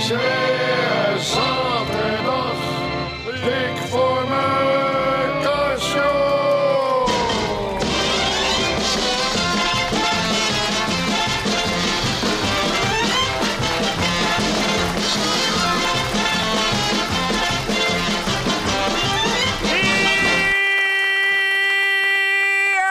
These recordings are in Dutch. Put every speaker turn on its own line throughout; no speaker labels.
Cliché zaterdag, dik voor mijn kastje.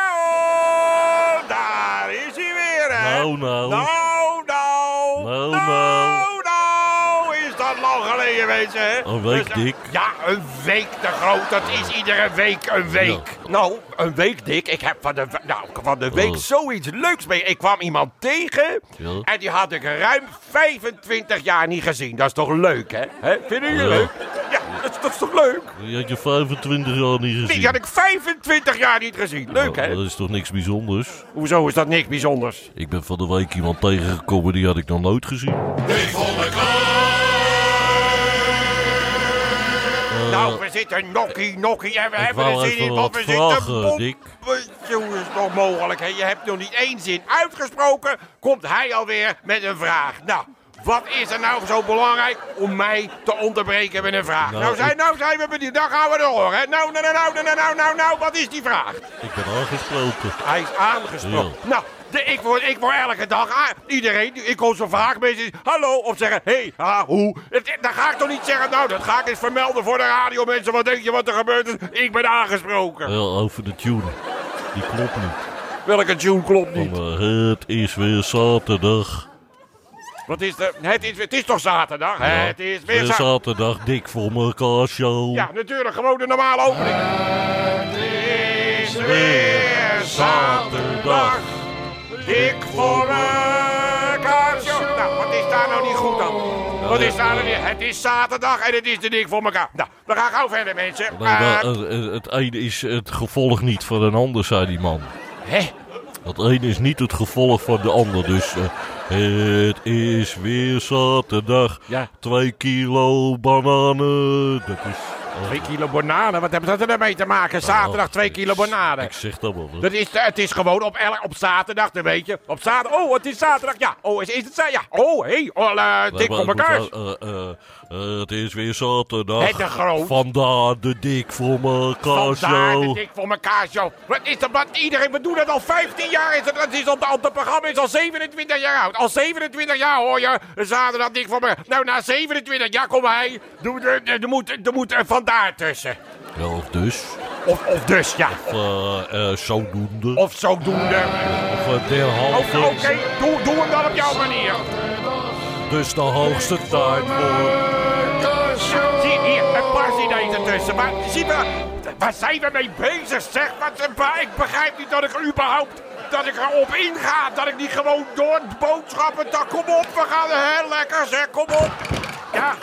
Ja, daar is hij weer, hè?
Nou, nou.
Nou, nou.
Nou,
nou.
nou.
nou. Is dat lang geleden, weet je, hè?
Een week
Dus, eh,
dik.
Ja, een week te groot. Dat is iedere week een week. Nou, een week dik. Ik heb van de, we- nou, van de week
Oh.
zoiets leuks mee. Ik kwam iemand tegen
Ja.
en die had ik ruim 25 jaar niet gezien. Dat is toch leuk, hè? hè? Vinden jullie
Ja.
leuk? Ja, dat is, dat is toch leuk?
Je had je 25 jaar niet gezien.
Die had ik 25 jaar niet gezien. Leuk,
Nou,
hè?
Dat is toch niks bijzonders?
Hoezo is dat niks bijzonders?
Ik ben van de week iemand tegengekomen die had ik nog nooit gezien.
Nou, we zitten nokkie, nokkie en we hebben
wou
er zin
even
in, want
wat
we
vragen,
zitten bom...
Dick.
Hoe is het nog mogelijk, hè? Je hebt nog niet één zin uitgesproken, komt hij alweer met een vraag. Nou, wat is er nou zo belangrijk om mij te onderbreken met een vraag? Nou,
Nou,
zijn,
ik-
nou zijn we benieuwd, dan gaan we door, hè? Nou, nou, nou, nou, nou, nou, nou, nou, nou, wat is die vraag?
Ik ben aangesproken.
Hij is aangesproken. Nou, de, ik, word, ik word elke dag aan. Iedereen, die- ik kom zo'n vraag mensen hallo, of zeggen, hé, hey, ha, hoe. Het- Dan ga ik toch niet zeggen, nou, dat ga ik eens vermelden voor de radio, mensen. Wat denk je wat er gebeurd is? Ik ben aangesproken.
Ja, over de tune. Die klopt niet.
Welke tune klopt niet?
Maar het is weer zaterdag.
Wat is de, het, is, het is toch zaterdag? Het is weer
zaterdag.
zaterdag.
dik voor mekaar show.
Ja, natuurlijk, gewoon de normale opening. Het is weer zaterdag. Ik voor een kaarsje. Nou, wat is daar nou niet goed dan? Wat is daar nou niet? Het is zaterdag en het is de dik voor elkaar. Nou, we gaan gauw verder, mensen.
Nee, maar,
Eh,
eh, eh, het een is het gevolg niet van een ander, zei die man.
Eh, Hè?
Dat een is niet het gevolg van de ander. Dus eh, het is weer zaterdag.
Ja.
Twee kilo bananen. Dat is. eh,
Twee kilo bananen, wat hebben dat ermee te maken? Zaterdag twee kilo bananen.
Ik zeg dat wel. hè.
Dat is, het is gewoon op, elk- op zaterdag, dan weet je. Op zaterdag. Oh, het is zaterdag. Ja. Oh, is, is het zaterdag? Ja. Oh, hé. Hey. Oh, eh,
Nee,
dik
maar
voor
ik moet
elkaar.
wel, eh, eh, eh, het is weer zaterdag.
Het de groot.
Vandaar de dik voor
Vandaar
mekaar
de
show.
dik voor elkaar show. Wat is dat? Wat iedereen, we doen dat al 15 jaar. Is dat, dat is op de, op de programma is al 27 jaar oud. Al 27 jaar hoor je. Zaterdag dik voor me. Nou, na 27 jaar kom hij. Doe- Er er- er moet, er moet eh, vandaar tussen.
Ja, of dus.
Of, of dus, ja.
Of eh, eh, zodoende.
Of zodoende.
Of eh,
Oké,
derhalve.
oké, doe, doe hem dan op jouw manier.
Dus de hoogste tijd voor.
Zie hier, een paar ideeën ertussen. Maar zie we, waar zijn we mee bezig, zeg? Wat, waar- ik begrijp niet dat ik überhaupt dat ik erop inga. Dat ik niet gewoon door de boodschappen. Dan, kom op, we gaan hè, lekker zeg, kom op. Ja.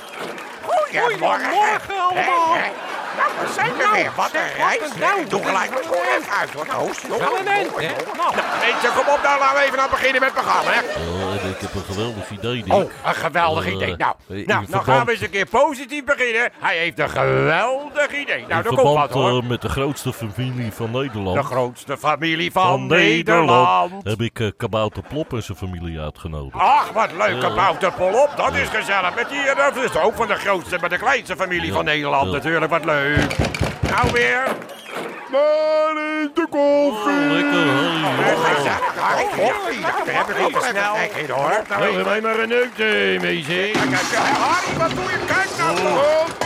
Goedemorgen.
Goedemorgen allemaal.
Hè, hè. Nou, we zijn er
Nou,
weer. Wat een
zeg, wat
reis.
een
hè.
duivel.
Doe gelijk het gewoon even uit, hoor. Nou,
Wel een eind, hè? Nou.
Mensen, kom op, nou, laten we even aan beginnen met het programma, hè.
Eh, en ik heb een geweldig idee, Dick.
Oh, een geweldig
Eh,
idee. Nou,
eh,
nou,
in
nou
verband-
gaan we eens een keer positief beginnen. Hij heeft een geweldig idee. Nou,
in
daar komt wat
verband
hoor.
eh, met de grootste familie van Nederland.
De grootste familie van, Nederland. Oh,
Heb ik eh, Kabouter Plop en zijn familie uitgenodigd.
Ach, wat leuk,
Ja.
kabouter Polop. Dat is gezellig. Met die, eh, dat is ook van de grootste, maar de kleinste familie
Ja.
van Nederland.
Ja.
Natuurlijk, wat leuk. Nou weer. Waar is de
Oh,
koffie?
lekker, hey.
Oh, gezellig. Ah, koffie. Nou, daar heb ik al te snel. Kijk, hier, hoor. Nou,
Wil je mij maar een neukje mee zien?
Kijk, eh, Harry, wat doe je? Kijk nou toch.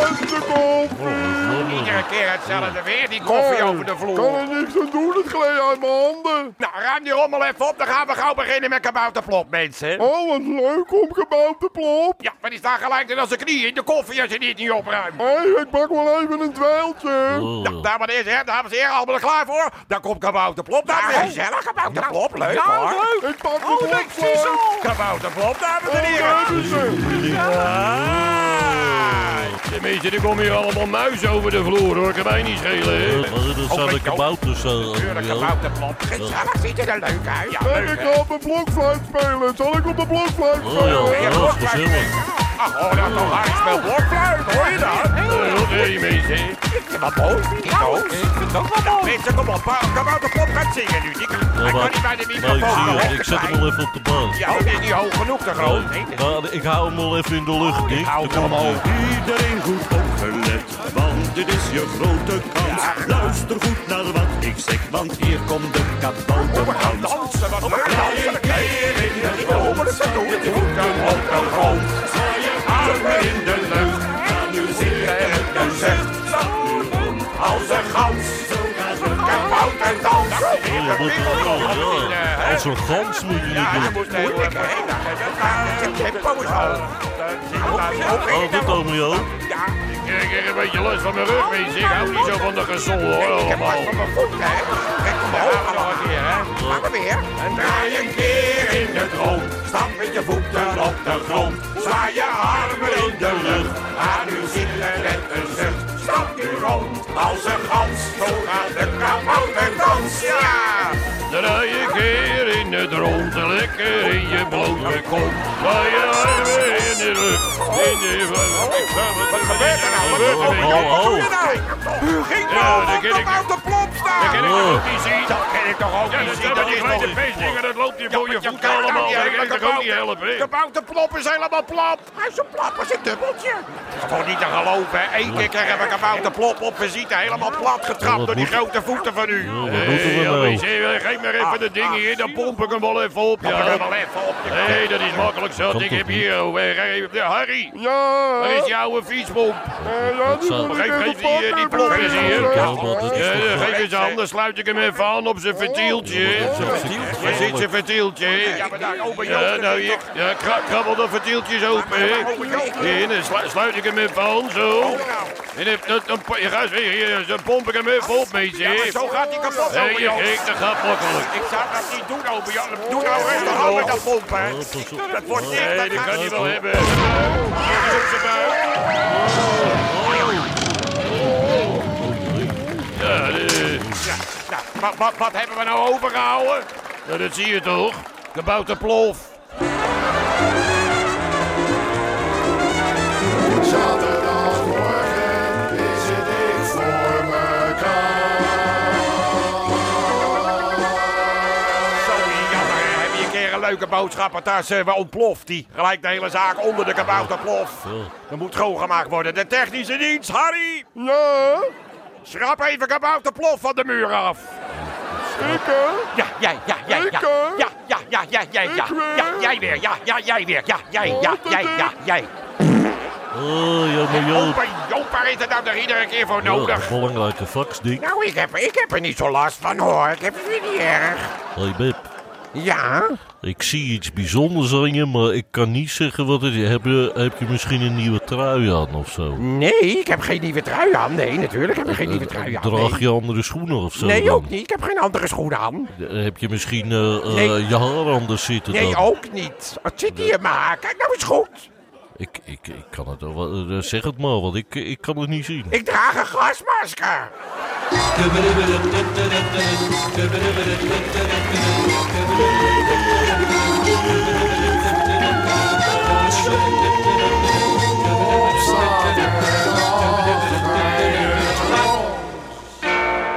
Beste koffie!
Iedere keer hetzelfde weer, die koffie over de
Kan
vloer.
er niks aan doen, het gleed uit mijn handen.
Nou, ruim die rommel even op, dan gaan we gauw beginnen met kabouterplop, mensen.
Oh, wat leuk om gebouwd te plop.
Ja, maar die staan gelijk in als de knieën in de koffie als je die niet opruimt.
Hé, ik pak wel even een dweiltje.
Oh.
Nou, dames en heren, dames en heren, allemaal er klaar voor? Dan komt kabouterplop, dames en heren. Gezellig, kabouterplop, leuk
Nou,
hoor.
leuk!
Ik pak
Oh,
de
leuk,
dropsluit.
Siezel!
Kabouterplop, dames
Daar
en heren.
hebben ze.
Ah.
Tenminste, er komen hier allemaal muizen over de vloer, hoor. Kan mij niet schelen, hè.
Eh, maar dat zijn
Oh,
de
met jou.
kabouters. eh,
Natuurlijk,
ja.
kabouterplop. Gezellig, ziet er er leuk uit. Ja,
En
leuk,
ik
hè?
ga op een blokfluit spelen. Zal ik op een blokfluit
Oh, ja.
spelen?
Ja, dat is gezellig.
Ja. Oh, dat is toch hartspel woordpluim, hoor je dat?
Rot herrie, mensen.
Wat boos, niet
Nou,
boos.
ik vind het ook wel mooi.
Mensen, kom op, pa- kom uit de pop gaan zingen nu. Die, hij kan niet bij de
maar Nou, ik
microfoon.
zie
hoor.
het. Ik zet hem al even op de baan.
Ja, die is niet hoog genoeg, de groot. Nee, dat-
Maar ik hou hem al even in de lucht, Dick.
hou
Daar
hem
komt
al.
hij.
Iedereen goed opgelet, want dit is je grote kans. Luister goed naar wat ik zeg, want hier komt de kabouter
We gaan
Hans.
dansen, wat leuk dansen. Keer in het komen, ze doen het voeten op de grond. Zwaai je armen in de lucht. Ga nu zingen en een zucht. Zat nu rond als een gans. Zo gaat het kabouter dansen.
Oh, je moet er wel, ja. Als een gans moet je
eh, Ja, je
het doen.
moest heel erg heen. Ik heb pauze
Oh,
gehad.
goed, Romeo.
Ja,
Ik krijg een beetje last van mijn rug, mensen. Ik hou niet zo van de gezol, hoor,
ik heb
allemaal.
last van mijn voet, hè. Ik kom nog een keer, hè. Maak hem weer. En draai een keer in de grond. Stap met je voeten op de grond. Zwaai je armen in de lucht. Aan uw zielen en een zucht. Stap nu rond als een gans. Zo gaat de kabouter dans. Ja!
Draai een keer in het rond, lekker in je blote kont. Draai je armen in de lucht. In de
Wat gebeurt er nou? Wat gebeurt er nou? Wat doe je nou? U ging nou
Ja, dat ken ik.
op de plop
Dat
staan.
ken ik toch ook niet zien.
Dat ken ik toch ook
Ja,
niet
dat
zien.
zijn
Dat
met
is
die
toch
kleine
niet
peesdinger, dat loopt je
Ja,
voor
maar
je
je
voet
kan dat
allemaal.
niet
Dat
hebben,
kan ik
dat
toch ook
kan
niet helpen, hè?
De Wouter Plop is helemaal plop. Hij is zo plop als een dubbeltje. Dat is toch niet te geloven, hè? Eén keer krijgen we een Wouter Plop op visite. Helemaal plat getrapt
Ja,
door
dat
die
moet-
grote voeten van u.
Ja,
Hé,
Wat moeten we nou?
mensen, geef maar
Ah,
even de ding hier, dan pomp ik hem wel even op.
Pak
Ja.
hem wel even op je
Hé, dat is makkelijk zo.
Kan
Ik
toch
heb
niet?
hier, oh, eh, Harry, eh, Harry,
Ja, Eh,
waar is die oude fietspomp?
Dat zou-
Geef, geef die, eh, die plop eens hier.
Ja,
Ja,
dat is toch
eh,
wel-
geef eens aan, dan sluit ik hem even aan op
Oh,
zijn
Ja,
ventieltje.
dat is echt
Waar zit zijn
wel-
ventieltje?
Ja, maar daar, over
Ja,
Joost.
nou, ik, ja, kra- krabbel dat vertieltjes open, hè. Hier, dan slu- sluit ik hem even aan,
Oh, nou.
zo. En dan, dan, dan, po- ja, ga eens weer, hier, dan pomp ik hem even op, meisje.
Ja, maar zo gaat die kapot,
Hé,
over
je
Joost.
gek, dat gaat makkelijk.
Ik zou dat niet doen, over Joost. Doe nou rustig aan met dat pomp, hè.
Oh, pas op.
Dat wordt echt... dat
Nee, dat
gaat-
kan hij wel hebben. Ja, eh,
Nou, wat, wat, wat hebben we nou overgehouden?
nou, dat zie je toch? De boutenplof.
zaterdagmorgen is het ik voor mekaar.
Zo jammer, hè. heb je een keer een leuke boodschappentas, eh, waar ontploft die. Gelijk de hele zaak onder de kabouter plof. Dat moet schoongemaakt worden. De technische dienst, Harry!
Ja,
Schrap even kabouter plof van de muur af.
ik eh, hè?
Ja, jij, ja, jij, ja.
Ik, hè?
Ja, ja, ja, ja, jij, ja.
Ik weer?
Ja, jij weer, ja, ja, jij weer. Ja, jij, ja,
Oh,
jij,
dat
ja, jij.
Oh, jammer Joop.
Opa, Joop, waar is het nou toch iedere keer voor
Ja,
nodig?
belangrijke fax, Dick.
Nou, ik heb, ik heb er niet zo last van, hoor. Ik heb het weer niet erg.
Hey, Beb.
Ja?
Ik zie iets bijzonders aan je, maar ik kan niet zeggen wat het is. Heb je, heb je misschien een nieuwe trui aan of zo?
Nee, ik heb geen nieuwe trui aan. Nee, natuurlijk heb ik geen nieuwe trui aan.
Draag
nee.
je andere schoenen of zo?
Nee,
dan?
ook niet. Ik heb geen andere schoenen aan.
Heb je misschien eh, eh,
Nee.
je haar anders zitten
Nee, oh.
dan?
ook niet. Wat zit hier in mijn haar? Kijk nou eens goed.
Ik, ik, ik kan het wel- wel... eh, Zeg het maar, want ik, ik kan het niet zien.
Ik draag een gasmasker.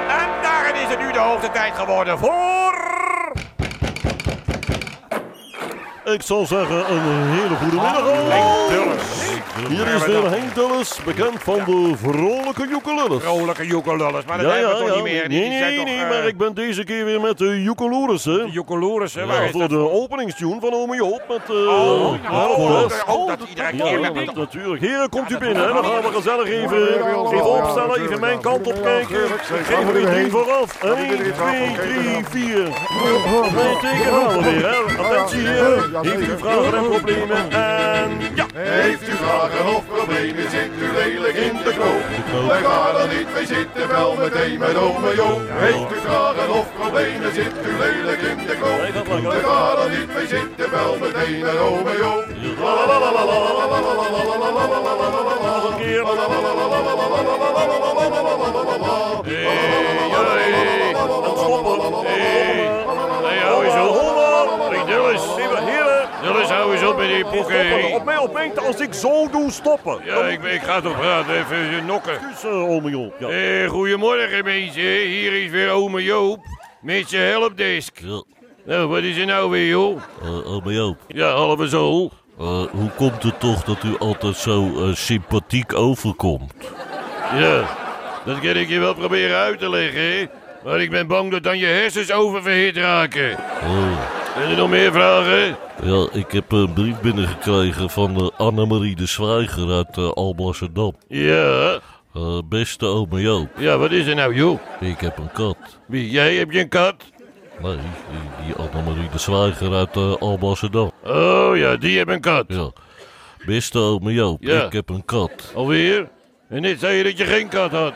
En daarin is het nu de hoogste tijd geworden voor...
Ik zal zeggen, een eh, hele goede
Ah,
middag. Oh! Hier is weer Henk Dulles, bekend van de vrolijke joekelullers.
Vrolijke joekelullers, maar dat hebben we toch niet meer. Die
Nee,
die zijn
nee,
toch,
nee,
eh,
maar ik ben deze keer weer met de joekeloeres, hè.
Joekeloeres, hè? waar
Ja,
is
voor
dat?
de openingstune van Ome Joop met... eh
Oh,
ja,
nou,
voor
oh,
de-
dat- oh, dat iedereen
Ja,
keer
ja,
met-
dat- natuurlijk. Heren, komt u binnen. hè. Dan gaan we gezellig even, even opstellen. Even mijn kant op kijken. Geef er drie vooraf. 1, 2, 3, 4. Nee, tegenaan weer. Hè. Attentie heren. Heeft u vragen en problemen? En ja.
Heeft u vragen of problemen, zit u lelijk in de knoop. Wij gaan er niet, wij zitten wel meteen met ome Joop. Heeft u vragen of problemen, zit u lelijk in de
Nee, dat
knoop.
lijkt me
Wij gaan er niet, wij zitten wel meteen met ome Joop. La, la, la, la, la, la, la, la, la, la, la, la, la, la, la, la, la, la, la.
Nog een keer.
Nee, hou eens op. Henk Dulles.
Heren,
Stil eens, hou eens op met die
Stoppen,
poeken.
op mij opmerkt als ik zo doe stoppen.
Ja, ik, ik ga toch praten, even eh, nokken.
Dus, eh, ome Joop, ja.
Eh, goedemorgen mensen, hier is weer ome Joop met zijn helpdesk. Nou, wat is er nou weer, joh?
Eh, eh, maar Joop,
Ja, halve zool.
eh, hoe komt het toch dat u altijd zo eh, sympathiek overkomt?
Ja, dat kan ik je wel proberen uit te leggen, hè? Maar ik ben bang dat dan je hersens oververhit raken.
Oh,
Zijn er nog meer vragen?
ja, ik heb een brief binnengekregen van eh, Annemarie de Zwijger uit eh, Alblasserdam.
Ja.
Eh, beste ome Joop,
Ja, wat is er nou, joh?
ik heb een kat.
Wie, jij heb je een kat?
Nee, die, die Annemarie de Zwijger uit eh Alblasserdam.
Oh ja, die heb een kat.
Ja. Beste ome Joop,
Ja.
ik heb een kat.
Alweer? En net zei je dat je geen kat had.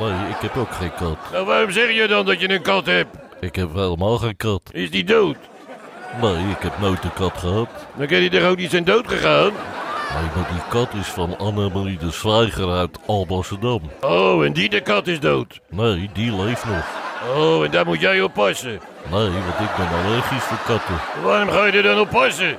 Nee, ik heb ook geen kat.
Nou, waarom zeg je dan dat je een kat hebt?
Ik heb helemaal geen kat.
Is die dood?
Nee, ik heb nooit een kat gehad.
Dan kan die toch ook niet zijn dood gegaan?
Nee, maar die kat is van Annemarie de Zwijger uit Alblasserdam.
Oh, en die de kat is dood.
Nee, die leeft nog.
Oh, en daar moet jij op passen.
Nee, want ik ben allergisch voor katten.
Waarom ga je er dan op passen?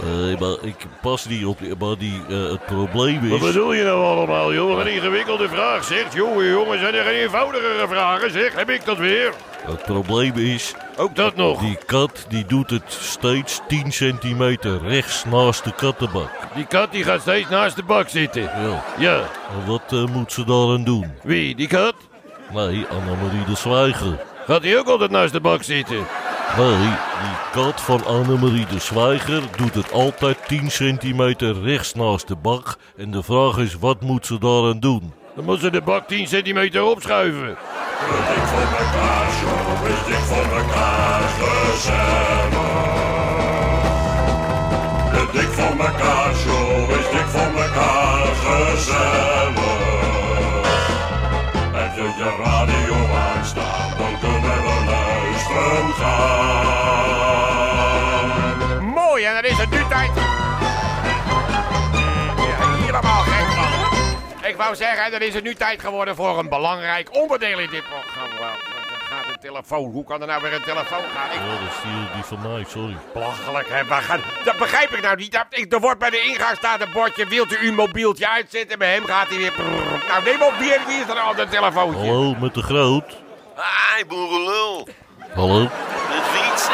Eh, maar ik pas niet op. die- Maar die, eh, het probleem
Wat
is.
bedoel je nou allemaal, joh? Wat een ingewikkelde vraag, zeg. Jongen, jongen, zijn er geen eenvoudigere vragen, zeg? Heb ik dat weer?
Het probleem is.
Ook dat nog.
Die kat die doet het steeds 10 centimeter rechts naast de kattenbak.
Die kat die gaat steeds naast de bak zitten.
Ja.
Ja,
En wat eh, moet ze daar aan doen?
wie? Die kat?
Nee, Annemarie de Zwijger.
Gaat die ook altijd naast de bak zitten?
Nee, die kat van Annemarie de Zwijger doet het altijd 10 centimeter rechts naast de bak. En de vraag is, wat moet ze daaraan doen?
Dan moet ze de bak 10 centimeter opschuiven.
Dik van mekaar, zo is dik van mekaar gezellig. Heb je je radio aanstaan, dan kunnen we luisteren gaan.
Mooi, en dan is het nu tijd. Ja, helemaal gek van. Ik wou zeggen, dan is het nu tijd geworden voor een belangrijk onderdeel in dit programma. Wel, Dan gaat een telefoon. Hoe kan er nou weer een telefoon gaan? Ik
Ja, dat is die, die van mij, sorry.
belachelijk, hè. Waar gaan... Dat begrijp ik nou niet. Dat- Ik, er wordt bij de ingang staat een bordje. Wilt u uw mobieltje uitzetten? Bij hem gaat hij weer... prrrr. Nou, neem op. Wie wie is er al dat telefoontje?
Hallo, met de groot.
Hi, boerenlul.
Hallo,
Met fietsen.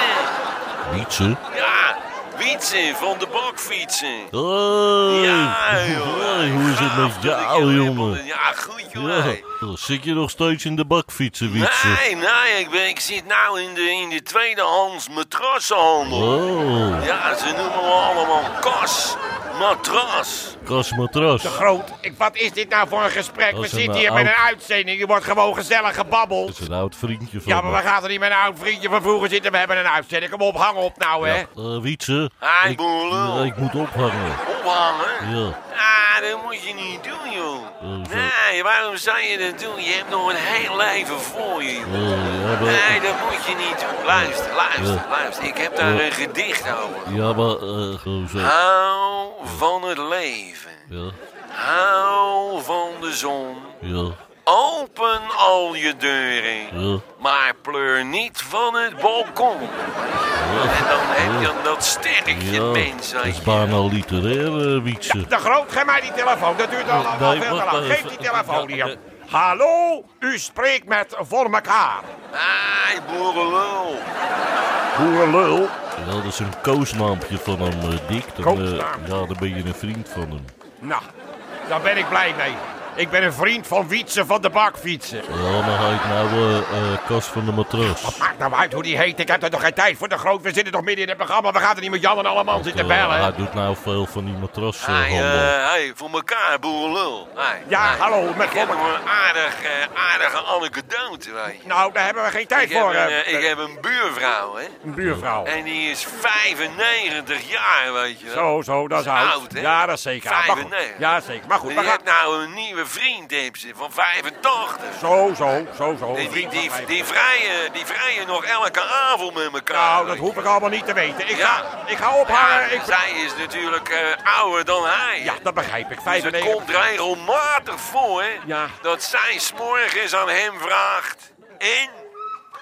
Wietse.
Ja, fietsen van de bak fietsen.
Hey.
Ja, joh.
Hey, hoe is het met jou, jongen?
Ja, goed, jongen.
Ja. Zit je nog steeds in de bak fietsen, Wietse?
Nee, nee, ik, ben, ik zit nou in de, in de tweedehands matrassenhandel.
Oh,
Ja, ze noemen me allemaal kas, matras.
kasmatras.
Te groot. Ik, wat is dit nou voor een gesprek?
Dat
We
is een,
zitten
eh,
hier met een
oud-
uitzending. Er wordt gewoon gezellig gebabbeld.
Dat is een oud vriendje van
Ja, maar
me.
we gaan er niet met een oud vriendje van vroeger zitten. We hebben een uitzending. Kom op, hang op nou, hè.
Eh, Wietse,
Hi,
ik, eh,
boerenlul.
ik moet ophangen.
Ophangen?
Ja, Oh,
Ah, dat moet je niet doen, joh.
Hoezo?
Nee, waarom zou je dat doen? Je hebt nog een heel leven voor je, joh.
eh, ja, maar,
Nee, dat moet je niet doen. Luister, luister,
Ja.
luister. Ik heb daar
Ja.
een gedicht over.
ja, maar eh, gewoon zo.
Hou van het leven.
Ja,
Hou van de zon.
ja,
Open al je deuren.
ja.
Maar pleur niet van het balkon. En dan heb je dat sterkje
Ja,
mens
dat
aan
is
je.
bijna literair, eh, Wietse.
De groot, geef mij die telefoon. Dat duurt al, al- al
Nee,
veel te
wacht
lang.
maar
Geef die
even.
telefoon
Ja,
hier.
eh.
Hallo, u spreekt met Voor elkaar.
Ai, boerenlul.
Boerenlul.
Ja, dat is een koosnaampje van hem, eh, Dick. Dan, eh,
Koosnaam.
ja, dan ben je een vriend van hem.
Nou, daar ben ik blij mee. Ik ben een vriend van Wietse van de Bakfietsen.
Ja, maar hij heeft nou eh, eh, kas van de matras.
Maakt nou uit hoe die heet. Ik heb er nog geen tijd voor de groot. We zitten nog midden in het programma. We gaan er niet met Jan en allemaal zitten
Ja,
bellen.
hij doet nou veel van die matras.
Ai,
eh, handel.
eh, hey, voor elkaar, boerenlul. Ai,
Ja,
ai.
hallo, met
Ik heb
Voor
nog een aardig, eh, aardige anekdote, weet je.
Nou, daar hebben we geen tijd
Ik heb,
voor.
een,
eh,
eh, ik heb een buurvrouw, hè.
Een buurvrouw.
En die is 95 jaar, weet je wel.
Zo, zo, dat is
Dat is
oud.
oud, hè?
ja, dat is zeker. oud. Maar goed.
95.
Ja, zeker. Maar goed,
Die
we gaan...
heeft nou een nieuwe vriend, heeft ze, van 85.
Zo, zo, zo, zo.
Die, die, die,
Oh, Vriend-
die, vrijen, die vrijen nog elke avond met elkaar.
Nou, dat
weet je.
hoef ik allemaal niet te weten. Ik,
Ja.
ga, ik ga
Ja,
ophangen. ik...
Zij is natuurlijk eh, ouder dan hij.
ja dat begrijp ik.
dus het
95.
komt regelmatig voor, hè.
Ja.
Dat zij s'morgens aan hem vraagt. En?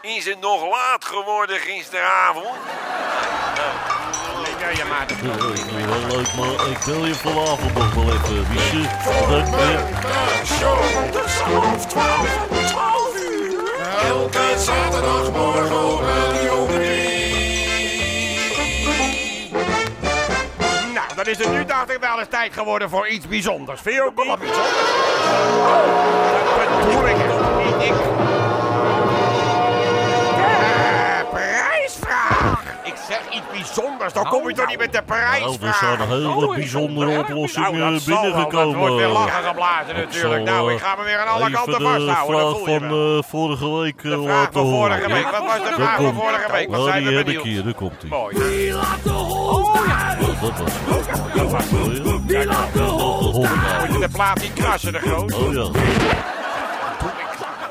Is het nog laat geworden gisteravond?
Ik, vertel je maar.
Ja, Heel leuk, maar ik wil je vanavond nog wel even, wist je? Dat ik weer-
Elke zaterdagmorgen op Radio 3.
Nou, dan is het nu dacht ik wel eens tijd geworden voor iets bijzonders. Vind je ook wel wat bijzonders? Oh, dat bedoel ik toch niet. Ik... Eh, prijsvraag! Ik zeg iets bijzonders, dan kom je toch niet met de
Nou, er zijn
prijsvraag.
hele bijzondere
Nou,
oplossingen
dat zal wel. Dat wordt weer
binnengekomen.
lachen geblazen
Ik zal,
natuurlijk. Nou, ik
eh,
ga me weer aan alle
even
kanten
de
vasthouden. Dat
vraag
voel je
van
wel.
eh, vorige week eh,
De vraag
laten
van
horen.
vorige week.
Ja,
Wat was de
daar
vraag van
komt-
vorige week? Wat
Nou,
zijn
die
we
heb ik
benieuwd.
hier, daar komt hij.
Mooi.
Wat was het? Die laat de hond uit.
De plaat die krassen, de groot.
Oh ja.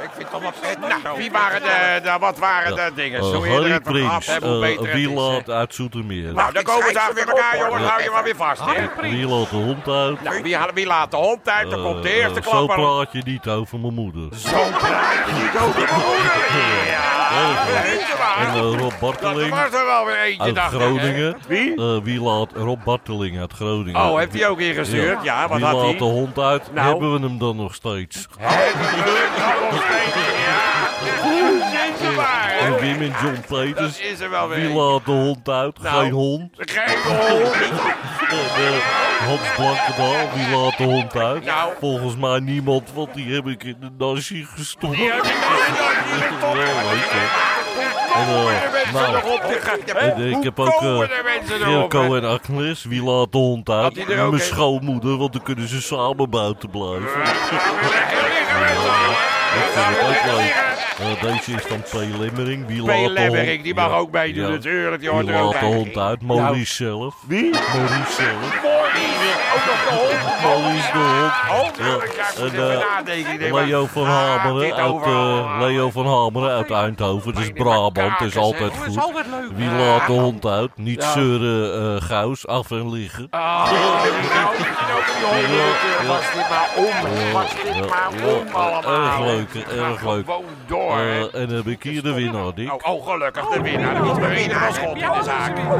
Ik vind het allemaal vet. Nou, wie waren de, de- wat waren de dingen?
Oh. Eh,
Zo eerder
Harry
het we
Prins,
af hebben, hoe
eh,
beter het is. hè.
Wieland uit Zoetermeer.
Nou, dan komen we daar weer elkaar, jongens. Hou je maar weer vast, hè.
Wieland de hond uit.
Nou, wie, wie laat de hond uit? Dan komt de
Eh,
eerste
eh, zo
klapper.
praat je niet over mijn moeder.
Zo praat je niet over je moeder. Ja,
Eh,
weet je waar?
En eh, Rob
Dat er
Barteling
was er wel weer eentje,
uit
dacht ik, hè.
Groningen.
Wie?
Eh, wie laat Rob Barteling uit Groningen?
Oh, heeft hij ook ingestuurd? Ja, wat
Wie
had
laat de
hij?
hond uit?
Nou.
Hebben we hem dan nog steeds?
Weet je waar, hè?
En Wim en John
Dat
Peters.
is er wel weer
Wie
eentje.
laat de hond uit?
Nou.
Geen hond.
Geen hond.
En, eh, Hans Blankendaal, wie laat de hond uit?
Nou.
Volgens mij niemand, want die heb ik in de nazi gestopt.
Die heb ik nooit meer
Ja,
gestopt.
weet je.
Hoe komen de mensen
nou.
nog op de gang?
En, eh, ik
Hoe
heb ook,
komen
eh,
de mensen nog op?
Mirko
hè?
en Agnes, wie laat de hond uit?
die er ook
Mijn
een?
schoonmoeder, want dan kunnen ze samen buiten blijven.
Dat
Dat vind ik ook leuk. Eh, deze is dan P. Lemmering. Wie laat de hond-
Lemmering, die mag
Ja,
ook meedoen
ja.
natuurlijk. Die
Wie
hoort er ook
laat de
bij.
hond uit?
Nou.
Maurice zelf. Wie? Maurice zelf.
Ook nog de hond.
Maurice de hond.
Oh, nou, ik
Ja,
moet
en,
even
eh,
nadenken. Ik denk,
Leo
wat-
van
Ah,
Hameren
dit
uit,
overal.
eh, Leo van Hameren uit Eindhoven. Dus Brabant is altijd
Dat is
goed.
altijd leuk.
Wie laat de hond uit? Niet zeuren, eh Gauws. Af en liggen.
Ah, nou, ik ben ook die hond.
Ja, ja.
Was dit maar om. Was
Ja,
dit
ja,
maar om
ja.
allemaal.
Erg leuk,
Ga
erg leuk.
Gewoon door.
Eh,
hè.
en dan heb ik hier de winnaar, Dick.
Oh, oh, gelukkig de winnaar. Niet meer één aanschot in de zaak. Kijk, nou
eh,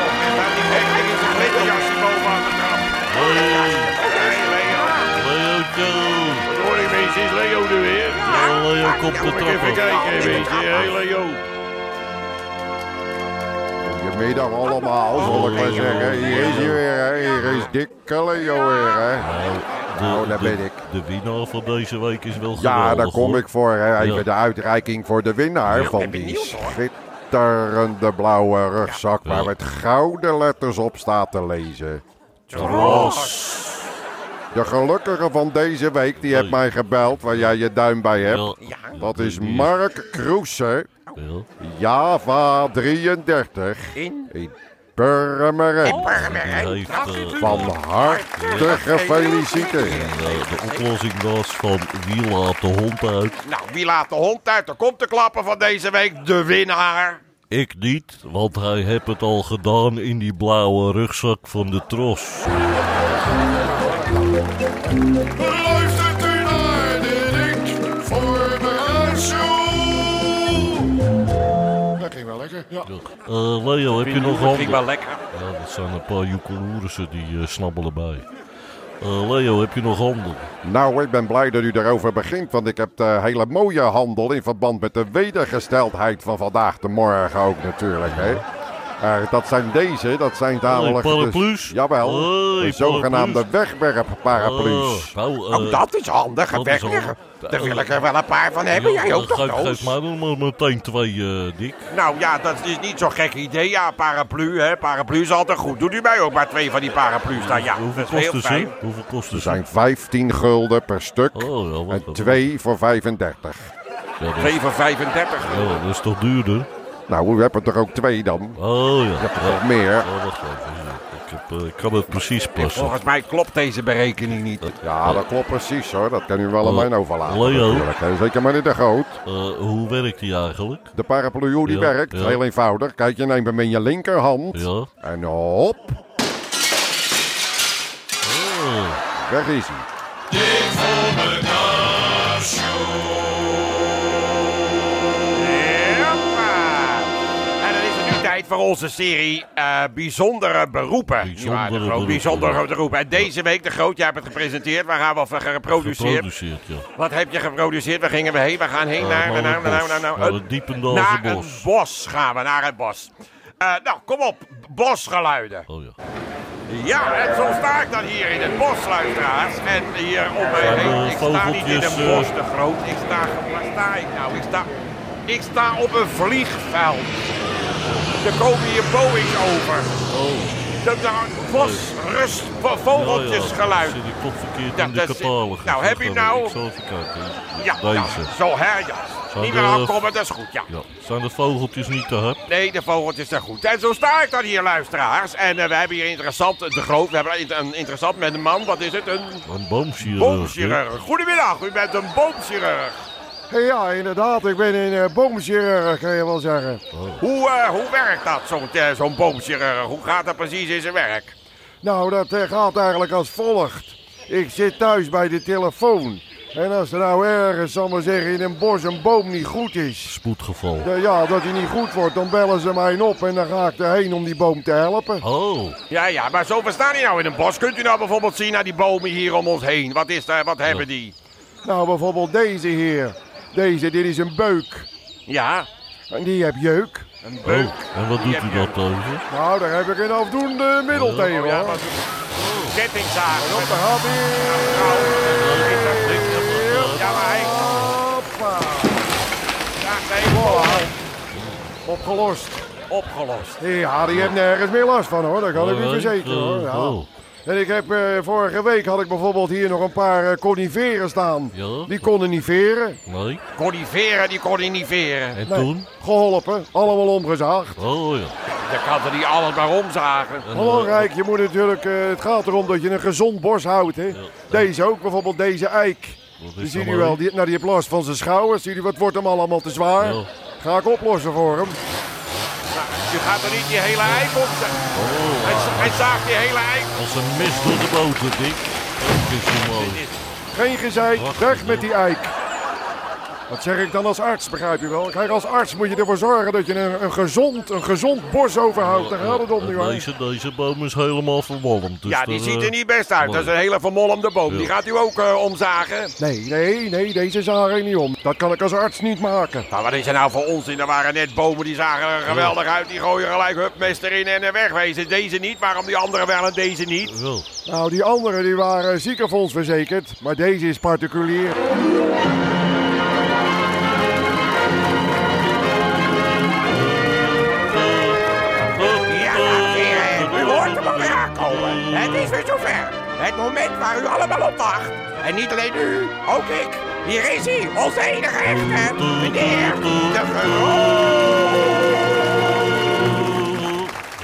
toch, hè, daar die hekking is een glitterjasje boven aan de trap.
Hey,
Oké, Leo.
Leootje.
Wat hoor ik, wees, is Leo er weer?
Ja, Leo komt de
Moet ik even
trap op.
kijken, wees. Hé, Leo.
Goedemiddag nou allemaal, zal
Oh,
ik maar zeggen. Hier is hij weer, hè. Hier is dikke Leo weer, hè.
De,
Oh, daar
de-
ben ik.
De winnaar van deze week is wel geweldig.
Ja, daar kom
hoor.
ik voor, hè.
Ja.
Even de uitreiking voor de winnaar van die schitterende blauwe rugzak... waar met gouden letters op staat te lezen. De gelukkige van deze week, die heeft
Hoi.
mij gebeld... waar jij je duim bij hebt.
Ja.
Dat is
die is-
Mark Kroese,
Ja.
Java 33, in
Oh.
Purmerend.
Die heeft, eh,
Van harte gefeliciteerd.
eh, de oplossing was van wie laat de hond uit?
Nou, wie laat de hond uit? Er komt de klappen van deze week. De winnaar.
Ik niet, want hij heeft het al gedaan in die blauwe rugzak van de tros.
Luistert u naar de Dik voor Dat ging wel lekker, ja.
Eh, Leo, heb je nog
Ging
handen?
wel lekker.
Ja, dat zijn een paar joekeloerissen die eh, snabbelen bij. Eh, Leo, heb je nog handen?
Nou, ik ben blij dat u daarover begint, want ik heb de hele mooie handel in verband met de wedergesteldheid van vandaag de morgen ook natuurlijk, hè. Eh, dat zijn deze, dat zijn namelijk
paraplu's.
dus, jawel,
Hey,
de zogenaamde
Oh,
wegwerpparaplu's.
nou, eh,
Oh, dat is handig.
dat
Een
is
wekker.
handig.
Daar wil ik er wel een paar van hebben.
ja,
Jij ook toch,
geef,
Noos?
geef mij dan maar meteen twee, eh, Dick.
Nou ja, dat is niet zo'n gek idee. Ja, paraplu, hè. Paraplu is altijd goed. Doet u mij ook maar twee van die paraplu's dan? Ja, dat
Hoeveel
is heel
kosten
fijn.
ze? Hoeveel kosten
Er
ze?
zijn 15 gulden per stuk
Oh, ja, wat-
en 2 voor 35.
Ja, dat, is,
2 voor 35.
ja, dat is toch duurder?
Nou, u hebt er toch ook twee dan?
Oh ja.
Nog
ja.
meer.
Ja, wacht even. Ik, heb, eh, ik kan het precies passen.
Volgens mij klopt deze berekening niet.
Ja, dat klopt precies hoor. Dat kan u wel aan
Eh,
mij overlaten.
Leo?
natuurlijk, hè. Zeker maar niet de groot.
Eh, hoe werkt die eigenlijk?
De paraplu hoe die
Ja,
werkt,
ja.
heel eenvoudig. Kijk, je neemt hem in je linkerhand.
Ja.
En hop,
Oh,
weg is hij.
Hoppa. En dan is het nu voor onze serie eh, Bijzondere Beroepen. Nietwaar, de
Bijzondere
groot- bijzondere
beroepen.
beroepen. En deze week, de groot, jij hebt het gepresenteerd. Waar gaan we van geproduceerd?
Geproduceerd, ja.
Wat heb je geproduceerd? Waar gingen we heen? We gaan heen naar, naar, naar, naar, naar,
Naar
naar,
het Diependaalse
naar
bos.
een bos gaan we, naar het bos. Eh, nou, kom op, bosgeluiden.
Oh ja.
Ja, en zo sta ik dan hier in het bos, luisteraars. En hier om mij
Zijn
heen.
er
Ik sta niet in
vogeltjes,
een
eh?
bos te groot. Ik sta, waar sta ik nou? Ik sta, ik sta op een vliegveld. Er komen hier Boeings over. Dat is een bos, rust, vo- vogeltjesgeluid.
Oh. Ja, ja. Zit ik toch verkeerd
Ja,
in de
dat is-
catalogus.
nou, heb je nou-
Ik zal even kijken.
Ja, nou,
Deze.
zo hè, ja.
Zijn
Niet meer
de-
aankomen, dat is goed, ja.
Ja. Zijn de vogeltjes niet te hard?
Nee, de vogeltjes zijn goed. En zo sta ik dan hier, luisteraars. En eh, we hebben hier interessant, de groot, we hebben een, een interessant met een man, wat is het? Een
Een boomchirurg. hè?
Boomchirurg. Goedemiddag, u bent een boomchirurg.
Hey, ja, inderdaad. Ik ben een eh, boomchirurg, kan je wel zeggen.
Hoe, eh, hoe werkt dat, zo'n eh, zo'n boomchirurg? Hoe gaat dat precies in zijn werk?
Nou, dat eh, gaat eigenlijk als volgt. Ik zit thuis bij de telefoon. En als er nou ergens, zal ik maar zeggen, in een bos een boom niet goed is...
Spoedgeval.
eh, ja, dat die niet goed wordt, dan bellen ze mij op en dan ga ik erheen om die boom te helpen.
Oh,
Ja, ja, maar zo verstaan die nou in een bos. Kunt u nou bijvoorbeeld zien naar die bomen hier om ons heen? Wat, is daar, wat hebben die?
Nou, bijvoorbeeld deze heer. Deze, dit is een beuk.
Ja,
En die heb jeuk.
een beuk.
oh. En wat doet u dat over?
Nou, daar heb ik een afdoende middel tegen,
Oh, ja,
hoor.
wat kettingzaag.
Op de gaat hij.
Ja, maar hij...
Hoppa.
Ja, nee, voilà.
Opgelost.
Opgelost.
Ja, die heeft nergens meer last van hoor, dat kan ik u
Oh,
verzekeren
eh,
hoor. Ja.
oh.
En ik heb eh, vorige week had ik bijvoorbeeld hier nog een paar eh, coniferen staan.
Ja.
Die konden niet veren.
Nee.
Conniveren, die conniveren.
En
Nee,
toen?
Geholpen, allemaal omgezaagd.
Oh ja.
Je kan er niet alles maar omzagen.
En,
Belangrijk, je moet natuurlijk, eh, het gaat erom dat je een gezond bos houdt. Hè. Deze ook, bijvoorbeeld deze eik.
Wat
Die
is
ziet
dat
u wel,
mooi?
die, nou, die heeft last van zijn schouwers. Ziet u, wat wordt hem allemaal te zwaar?
Ja.
Ga ik oplossen voor hem.
Je gaat er niet die hele eik op. Hij, za- hij zaagt die hele eik.
eh, Als een mis door de boter, dik. Dat is zo mooi.
Geen gezeik,
Wacht,
weg
ik
met
doe-
die eik. Wat zeg ik dan als arts, begrijp je wel? Kijk, als arts moet je ervoor zorgen dat je een, een, gezond, een gezond bos overhoudt. Daar gaat het om nu,
En
hè?
Eh, Deze, deze boom is helemaal verwalmd. Dus
Ja, die
daar,
ziet
eh,
er niet best uit. Dat is een hele vermolmde boom. Die gaat u ook eh, omzagen.
Nee, nee, nee, deze zagen ik niet om. Dat kan ik als arts niet maken.
Maar wat is er nou voor onzin? Er waren net bomen die zagen er geweldig uit. Die gooien gelijk hup, mes erin en eh, wegwezen. Deze niet. Waarom die andere wel en deze niet?
Wel.
Nou, die anderen die waren ziekenfondsverzekerd, maar deze is particulier.
Ja, dames en heren, u hoort hem alweer aankomen. Het is weer zover. Het moment waar u allemaal op wacht. En niet alleen u, ook ik. Hier is hij, onze enige echte. Meneer, de groot.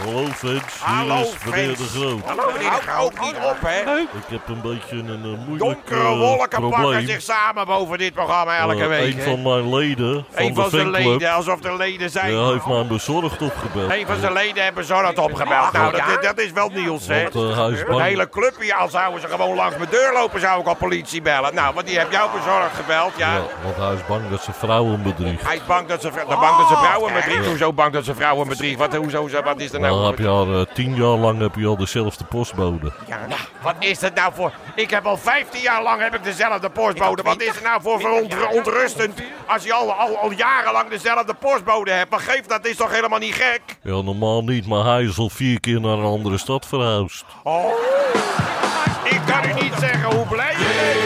Hallo fans,
Hallo,
hier is meneer de
Frans.
Groot.
Hallo, meneer de Groot. Ook niet op, hè.
Ik heb een beetje een, eh, moeilijk
Donkere
eh,
wolken
probleem.
pakken zich samen boven dit programma elke
Eh,
week.
Een
hè.
van mijn leden van
Een van
de
zijn
fanclub
leden, alsof de leden zijn.
eh, heeft mij bezorgd opgebeld.
Een van zijn leden hebben zo dat opgebeld. Nou, dat, dat is wel nieuws, hè.
Want, eh, hij is
Een
bang.
hele club hier, al zouden ze gewoon langs mijn deur lopen, zou ik al politie bellen. Nou, want die heeft jou bezorgd gebeld, ja.
Ja, want hij is bang dat ze vrouwen bedriegt.
Hij is bang dat ze, vrou- dan bang dat ze vrouwen bedriegt. Hoezo bang dat ze vrouwen bedriegt? Wat, hoezo, ze- wat is er
Nou,
nou?
heb je al eh, tien jaar lang heb je al dezelfde postbode.
Ja, nou, wat is dat nou voor... Ik heb al 15 jaar lang heb ik dezelfde postbode. Wat is er nou voor veront- verontrustend als je al, al, al jarenlang dezelfde postbode hebt? Maar geef, dat is toch helemaal niet gek?
Ja, normaal niet, maar hij is al vier keer naar een andere stad verhuisd.
Oh. Ik kan u niet zeggen hoe blij je bent.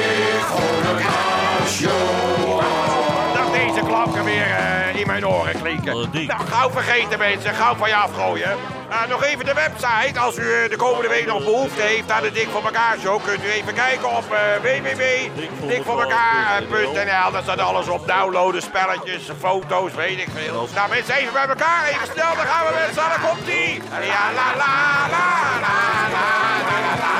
Dat deze klanken weer eh, in mijn oren klinken.
Oh, die.
Nou, gauw vergeten mensen, gauw van je afgooien. Eh, nog even de website. Als u eh, de komende week nog behoefte heeft aan de Dik voor elkaar show, kunt u even kijken op eh www.dikvoormekaar.nl. Daar staat alles op. Downloaden, spelletjes, foto's, weet ik veel. Nou mensen, even bij elkaar. Even snel, dan gaan we mensen. Dan komt ie. La la la la la la la la la.